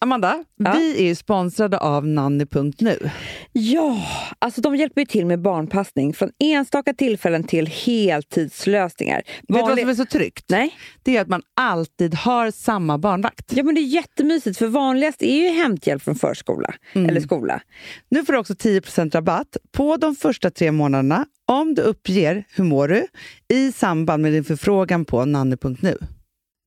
Amanda, Ja. vi är ju sponsrade av nanny.nu. Ja, alltså de hjälper ju till med barnpassning från enstaka tillfällen till heltidslösningar. Vet du vad Vanlig- som är så tryggt? Nej. Det är att man alltid har samma barnvakt. Ja, men det är jättemysigt, för vanligast är ju hämthjälp från förskola eller skola. Nu får du också 10 rabatt på de första tre månaderna om du uppger hur mår du i samband med din förfrågan på nanny.nu.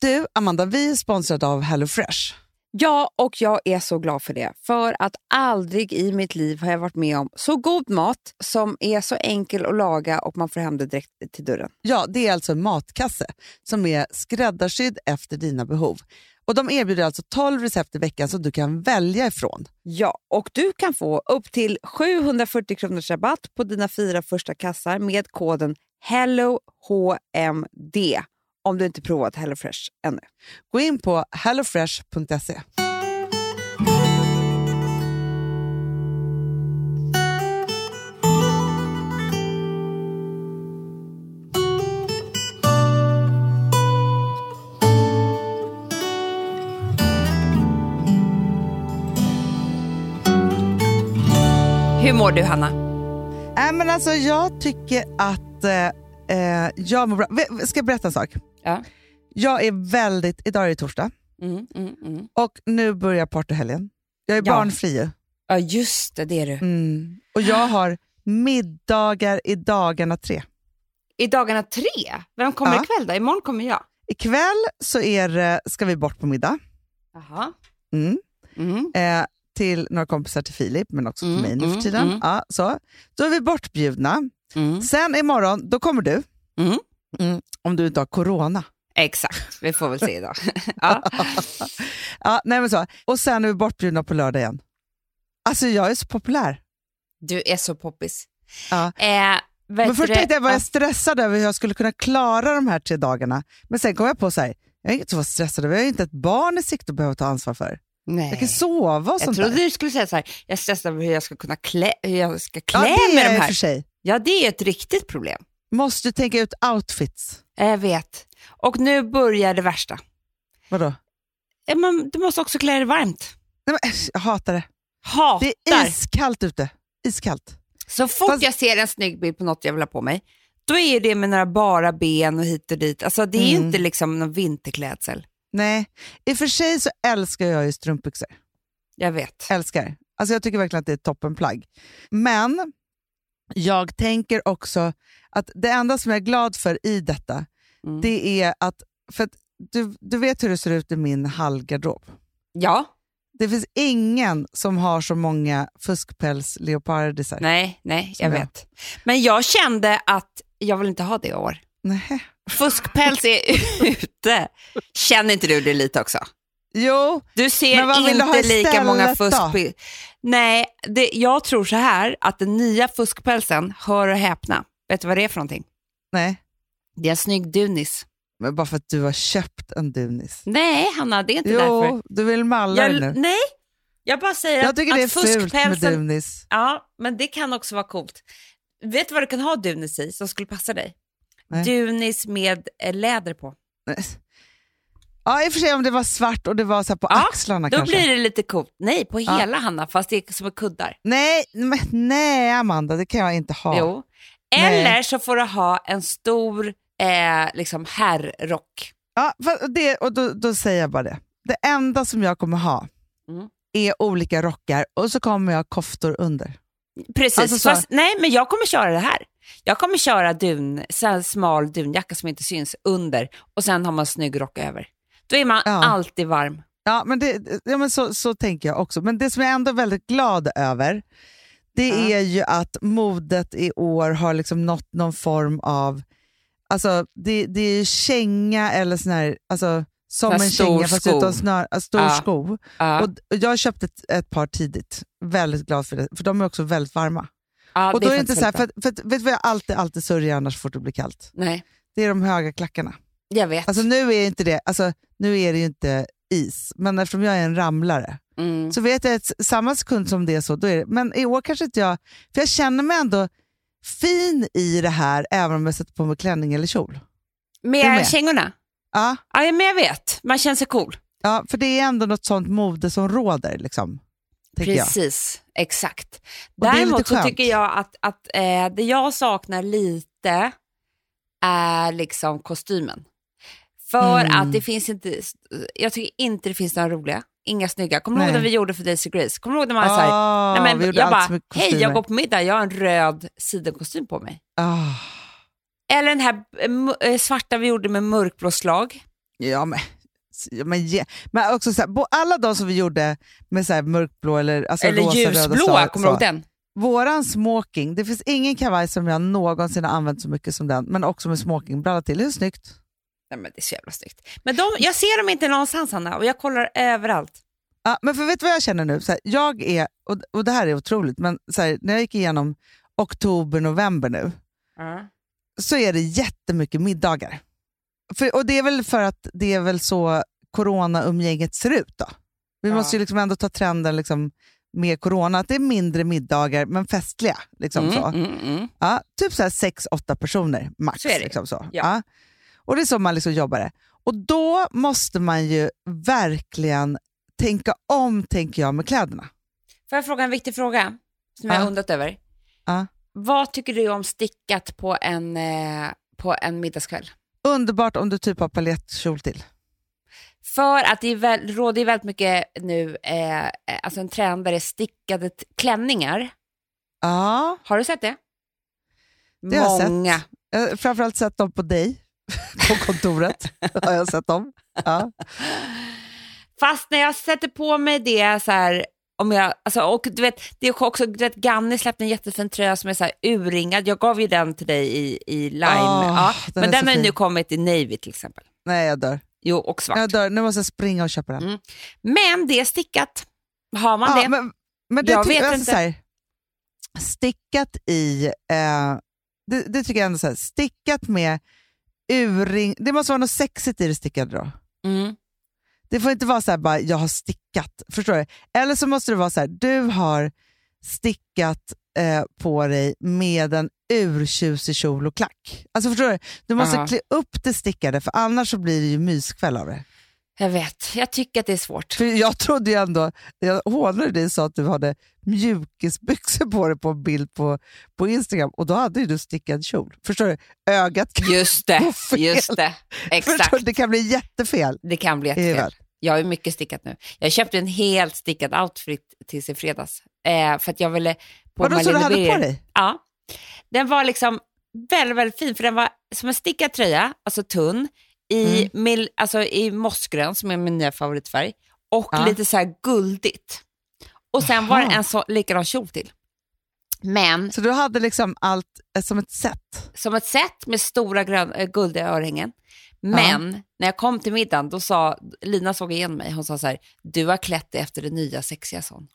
Du, Amanda, vi är sponsrade av HelloFresh. Ja, och jag är så glad för det. För att aldrig i mitt liv har jag varit med om så god mat som är så enkel att laga och man får hem det direkt till dörren. Ja, det är alltså en matkasse som är skräddarsydd efter dina behov. Och De erbjuder alltså 12 recept i veckan som du kan välja ifrån. Ja, och du kan få upp till 740 kronors rabatt på dina fyra första kassar med koden HELLOHMD om du inte provat HelloFresh ännu. Gå in på hellofresh.se. Hur mår du, Hanna? Nej, men alltså, jag tycker att eh, eh, jag mår bra. Ve- Ska jag berätta en sak? Ja. Jag är väldigt... Idag är det torsdag Mm, och nu börjar partyhelgen. Jag är Ja. barnfri ju. Ja, just det, det är du. Mm. Och jag har middagar i dagarna tre. I dagarna tre? Vem kommer Ja. ikväll då? Imorgon kommer jag. Ikväll så är, det- ska vi bort på middag. Jaha. Mm. Mm. eh, till några kompisar till Filip, men också till Mm, mig nu för mm, tiden. mm. Ja, så. Då är vi bortbjudna. Mm. Sen imorgon, då kommer du. Mm. Mm, om du inte har corona. Exakt, vi får väl se idag. ja. Ja, nej men så. Och sen är vi bortbjudna på lördag igen. Alltså jag är så populär. Du är så poppis. Ja. Eh, vet Men först du- tänkte jag var Ja. jag stressad över hur jag skulle kunna klara de här tre dagarna. Men sen kom jag på så här, jag är inte så stressad över, jag har ju inte ett barn i sikte att behöva ta ansvar för. Nej. Jag kan sova och Jag sånt trodde där. du skulle säga så här, jag är stressad över hur jag ska kunna klä, hur jag ska klä Ja, det mig är jag de i och för här. sig. Ja, det är ett riktigt problem. Måste tänka ut outfits. Jag vet. Och nu börjar det värsta. Vadå? Eh, Men du måste också klä dig varmt. Nej, men, äsch, jag hatar det. Hatar. Det är iskallt ute. Iskallt. Så fort Fast- jag ser en snygg bild på något jag vill ha på mig, då är det med några bara ben och hit och dit. Alltså det är ju Mm. inte liksom någon vinterklädsel. Nej, i och för sig så älskar jag ju strumpbyxor. Jag vet. Älskar. Alltså jag tycker verkligen att det är ett toppenplagg. Men jag tänker också att det enda som jag är glad för i detta, Mm. det är att, för att du, du vet hur det ser ut i min hallgarderob. Ja, Det finns ingen som har så många fuskpälsleopardisar. nej, nej, jag Som jag. vet. Men jag kände att jag vill inte ha det i år. Nej. Fuskpäls är ute. Känner inte du det lite också? Jo, Du ser Men vad vill du ha inte lika istället många då? fuskpäls. Nej, det, jag tror så här att den nya fuskpälsen, hör och häpna, vet du vad det är för någonting? nej. Det är en snygg dunis. Men bara för att du har köpt en Dunis. Nej, Hanna, det är inte därför. Jo, du vill malla dig Jag, nu. nej, jag bara säger Jag att, tycker det är att fult med fuskpälsen... Dunis. Ja, men det kan också vara coolt. Vet du vad du kan ha dunis i som skulle passa dig? Nej. Dunis med eh, läder på. Nej. Ja, i och för sig om det var svart och det var så här på Ja, axlarna Då kanske. blir det lite coolt. Nej, på Ja. hela Hanna, fast det är som kuddar. Nej, men, nej, Amanda, det kan jag inte ha. Jo. Nej. Eller så får du ha en stor eh, liksom herrrock. Ja, fa- och det, och då, då säger jag bara det. Det enda som jag kommer ha Mm. är olika rockar och så kommer jag ha koftor under. Precis. Alltså så- Fast, nej, men jag kommer köra det här. Jag kommer köra dun, så här smal dunjacka som inte syns under och sen har man snygg rock över. Då är man Ja. alltid varm. Ja, men, det, ja, men så, så tänker jag också. Men det som jag ändå är väldigt glad över, det Ja. är ju att modet i år har liksom nått någon form av... Alltså, det, det är ju känga eller sån här... Alltså, som Så här en stor känga fast sko. utan snör, ja, stor Ja. sko. Ja. Och d- och jag köpte ett, ett par tidigt. Väldigt glad för det, för de är också väldigt varma. Ja, och då är det faktiskt inte så här, för, väldigt att- för, att- vet du vad jag alltid, alltid sörjer annars så fort det blir kallt? bra. Nej, Det är de höga klackarna. jag vet. Alltså nu är inte det, alltså, nu är det ju inte is, men eftersom jag är en ramlare mm. så vet jag att s- samma sekund som det är så, då är det, men i år kanske inte jag, för jag känner mig ändå fin i det här även om jag sätter på mig klänning eller kjol. Med, med. kängorna? Ja, Ja, men jag vet. Man känner sig cool. ja Ja, för det är ändå något sånt mode som råder. Liksom, tänker jag. Precis, exakt. det är lite Däremot så skönt. tycker jag att, att eh, det jag saknar lite är liksom kostymen. För Mm. att det finns inte, jag tycker inte det finns några roliga, inga snygga. Kommer du ihåg Nej. när vi gjorde för Daisy Grace? Kommer du ihåg när man ah, såhär, Ah, nej men, vi jag gjorde allt som bara, är hej kostymer. jag går på middag, jag har en röd sidenkostym på mig. Ah, Eller den här eh, mu- eh, svarta vi gjorde med mörkblå slag. ja, men, ja, men, ge- men också så här, bo- alla de som vi gjorde med så här mörkblå eller, alltså Eller rosa, röda ljusblåa, slag, kommer du så. ihåg den? Våran smoking, det finns ingen kavaj som jag någonsin har använt så mycket som den, men också med smokingbrallor till. Hur snyggt? Nej, men det är så jävla snyggt. Men de, jag ser dem inte någonstans Hanna och jag kollar överallt. Ja, men för vet du vad jag känner nu? Så här, jag är, och, och det här är otroligt, men så här, när jag gick igenom oktober, november nu, så är det jättemycket middagar. För, och det är väl för att det är väl så corona-umgänget ser ut då. Vi Ja. måste ju liksom ändå ta trenden liksom med corona, att det är mindre middagar men festliga. Liksom Mm, så. mm, mm. Ja, typ så här sex, åtta personer max. Så är det. Liksom så. Ja. Och det är så man liksom jobbar det. Och då måste man ju verkligen tänka om, tänker jag, med kläderna. Får jag fråga en viktig fråga som jag Ja. har undrat över? Ja. Vad tycker du om stickat på en, eh, på en middagskväll? Underbart om du typ har paljettkjol till. För att det är väl, råder ju väldigt mycket nu, eh, eh, alltså en trend där det är stickade t- klänningar. Ja, Har du sett det? Det har jag sett. Många. jag har Eh, framförallt sett dem på dig på kontoret. har jag sett dem. Ja. Fast när jag sätter på mig det så här, om jag, alltså, och du vet, det är också, du vet, Ganni släppte en jättefin tröja som är så här urringad. Jag gav ju den till dig i, i lime. Åh, ja. Ah, den Men är den så har ju fin. nu kommit i navy till exempel. Nej, jag dör. Jo, och svart. jag dör. Nu måste jag springa och köpa den. Mm, Men det är stickat. Har man Ja, det? men, men det Jag ty- vet alltså inte. Så här, stickat i, eh, det, det tycker jag ändå så här, stickat med urring, det måste vara något sexigt i det stickade då. Mm. Det får inte vara så här bara, jag har stickat, förstår du? Eller så måste det vara så här, du har stickat eh, på dig med en urtjusig kjol och klack. Alltså förstår du? Du måste Ja. klä upp det stickade för annars så blir det ju myskväll av det. Jag vet, jag tycker att det är svårt. För jag trodde ju ändå, jag hånade dig och sa att du hade mjukisbyxor på dig på en bild på, på Instagram och då hade ju du stickad kjol. Förstår du? Ögat kan, Just Vad det, fel. Äh, just det. Exakt, förstår du? det kan bli jättefel. det kan bli I jättefel. Jag har ju mycket stickat nu. Jag köpte en helt stickad outfit tills i fredags. Eh, för att jag ville på Vadå så du Marlene hade på Berger. dig? Ja. Den var liksom väldigt, väldigt fin, för den var som en stickad tröja, alltså tunn, i, Mm. mil, alltså i mossgrön, som är min nya favoritfärg, och Ja. lite så här guldigt. Och sen var det Aha. en så, likadan kjol till. Men Så du hade liksom allt eh, som ett set? som ett sätt med stora grön, äh, guldiga örhängen. Men när jag kom till middagen, då sa Lina såg igen mig, hon sa så här, du har klätt dig efter det nya sexiga son.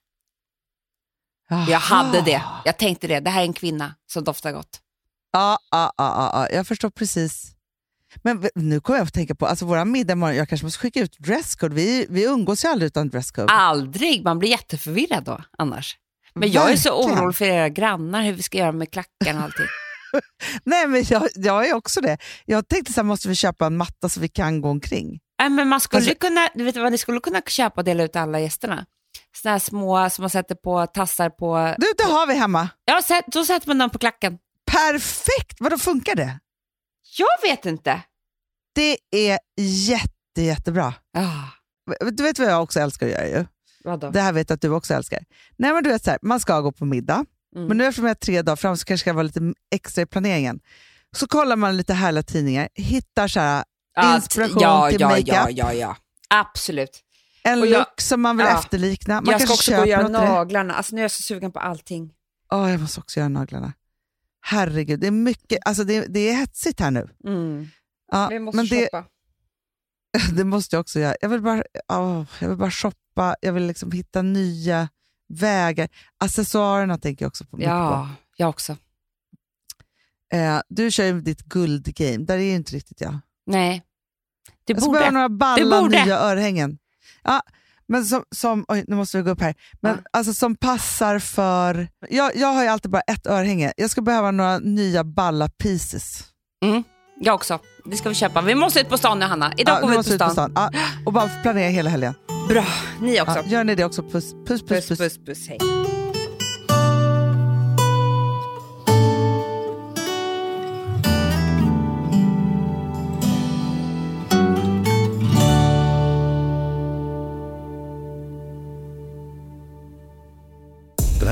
Jag hade det, Aha. jag tänkte det, det här är en kvinna som doftar gott. Ja, ja, ja, ja, ja. jag förstår precis. Men v- nu kommer jag att tänka på, alltså våra middag imorgon, jag kanske måste skicka ut dresscode. Vi, vi umgås ju aldrig utan dresscode. Alltså. Aldrig, man blir jätteförvirrad då annars. Ah, Men jag är så Verkligen. orolig för era grannar, hur vi ska göra med klackarna och allting. Nej, men jag, jag är också det. Jag tänkte så här, måste vi köpa en matta så vi kan gå omkring? Nej, men man skulle Alltså- kunna, du vet vad ni skulle kunna köpa och dela ut till alla gästerna? Såna här små som man sätter på tassar på, Du, det har vi hemma. ja sä- då sätter man dem på klacken. Perfekt! Vadå, funkar det? Jag vet inte. Det är jätte, jättebra. Ah, Du vet vad jag också älskar att göra ju? vadå? Det här vet jag att du också älskar. Nej, men du vet så här, man ska gå på middag, Mm. men nu eftersom jag har tre dagar fram så kanske jag vara lite extra i planeringen. Så kollar man lite härliga tidningar, hittar så här, Att- inspiration ja, till ja, makeup. Ja, ja, ja. Absolut. en Och jag- look som man vill ja. efterlikna. Man jag ska kanske också gå och köper göra något till det. naglarna. Alltså, nu är jag så sugen på allting. Åh, jag måste också göra naglarna. Herregud, det är mycket, alltså det, det är hetsigt här nu. Mm. Ja, Vi måste men det, shoppa. det måste jag också göra. Jag vill bara, åh, jag vill bara shoppa, jag vill liksom hitta nya vägar. Accessoarerna tänker jag också på. mycket Ja, jag också. på. Eh, du kör ju ditt guldgame, där är ju inte riktigt jag. Nej, det jag ska behöva borde. några balla borde. nya örhängen. Ja, men som, som, oj, nu måste vi gå upp här. Men Ja. alltså som passar för... Jag, jag har ju alltid bara ett örhänge. Jag ska behöva några nya balla pieces. Mm. Jag också. Det ska vi köpa. Vi måste ut på stan nu Hanna. Idag går vi vi ut måste på stan. Ja, och bara planera hela helgen. Bra. Ni också. Ja, gör ni det också? Puss, puss, puss. puss, puss, puss, puss. Hej. Den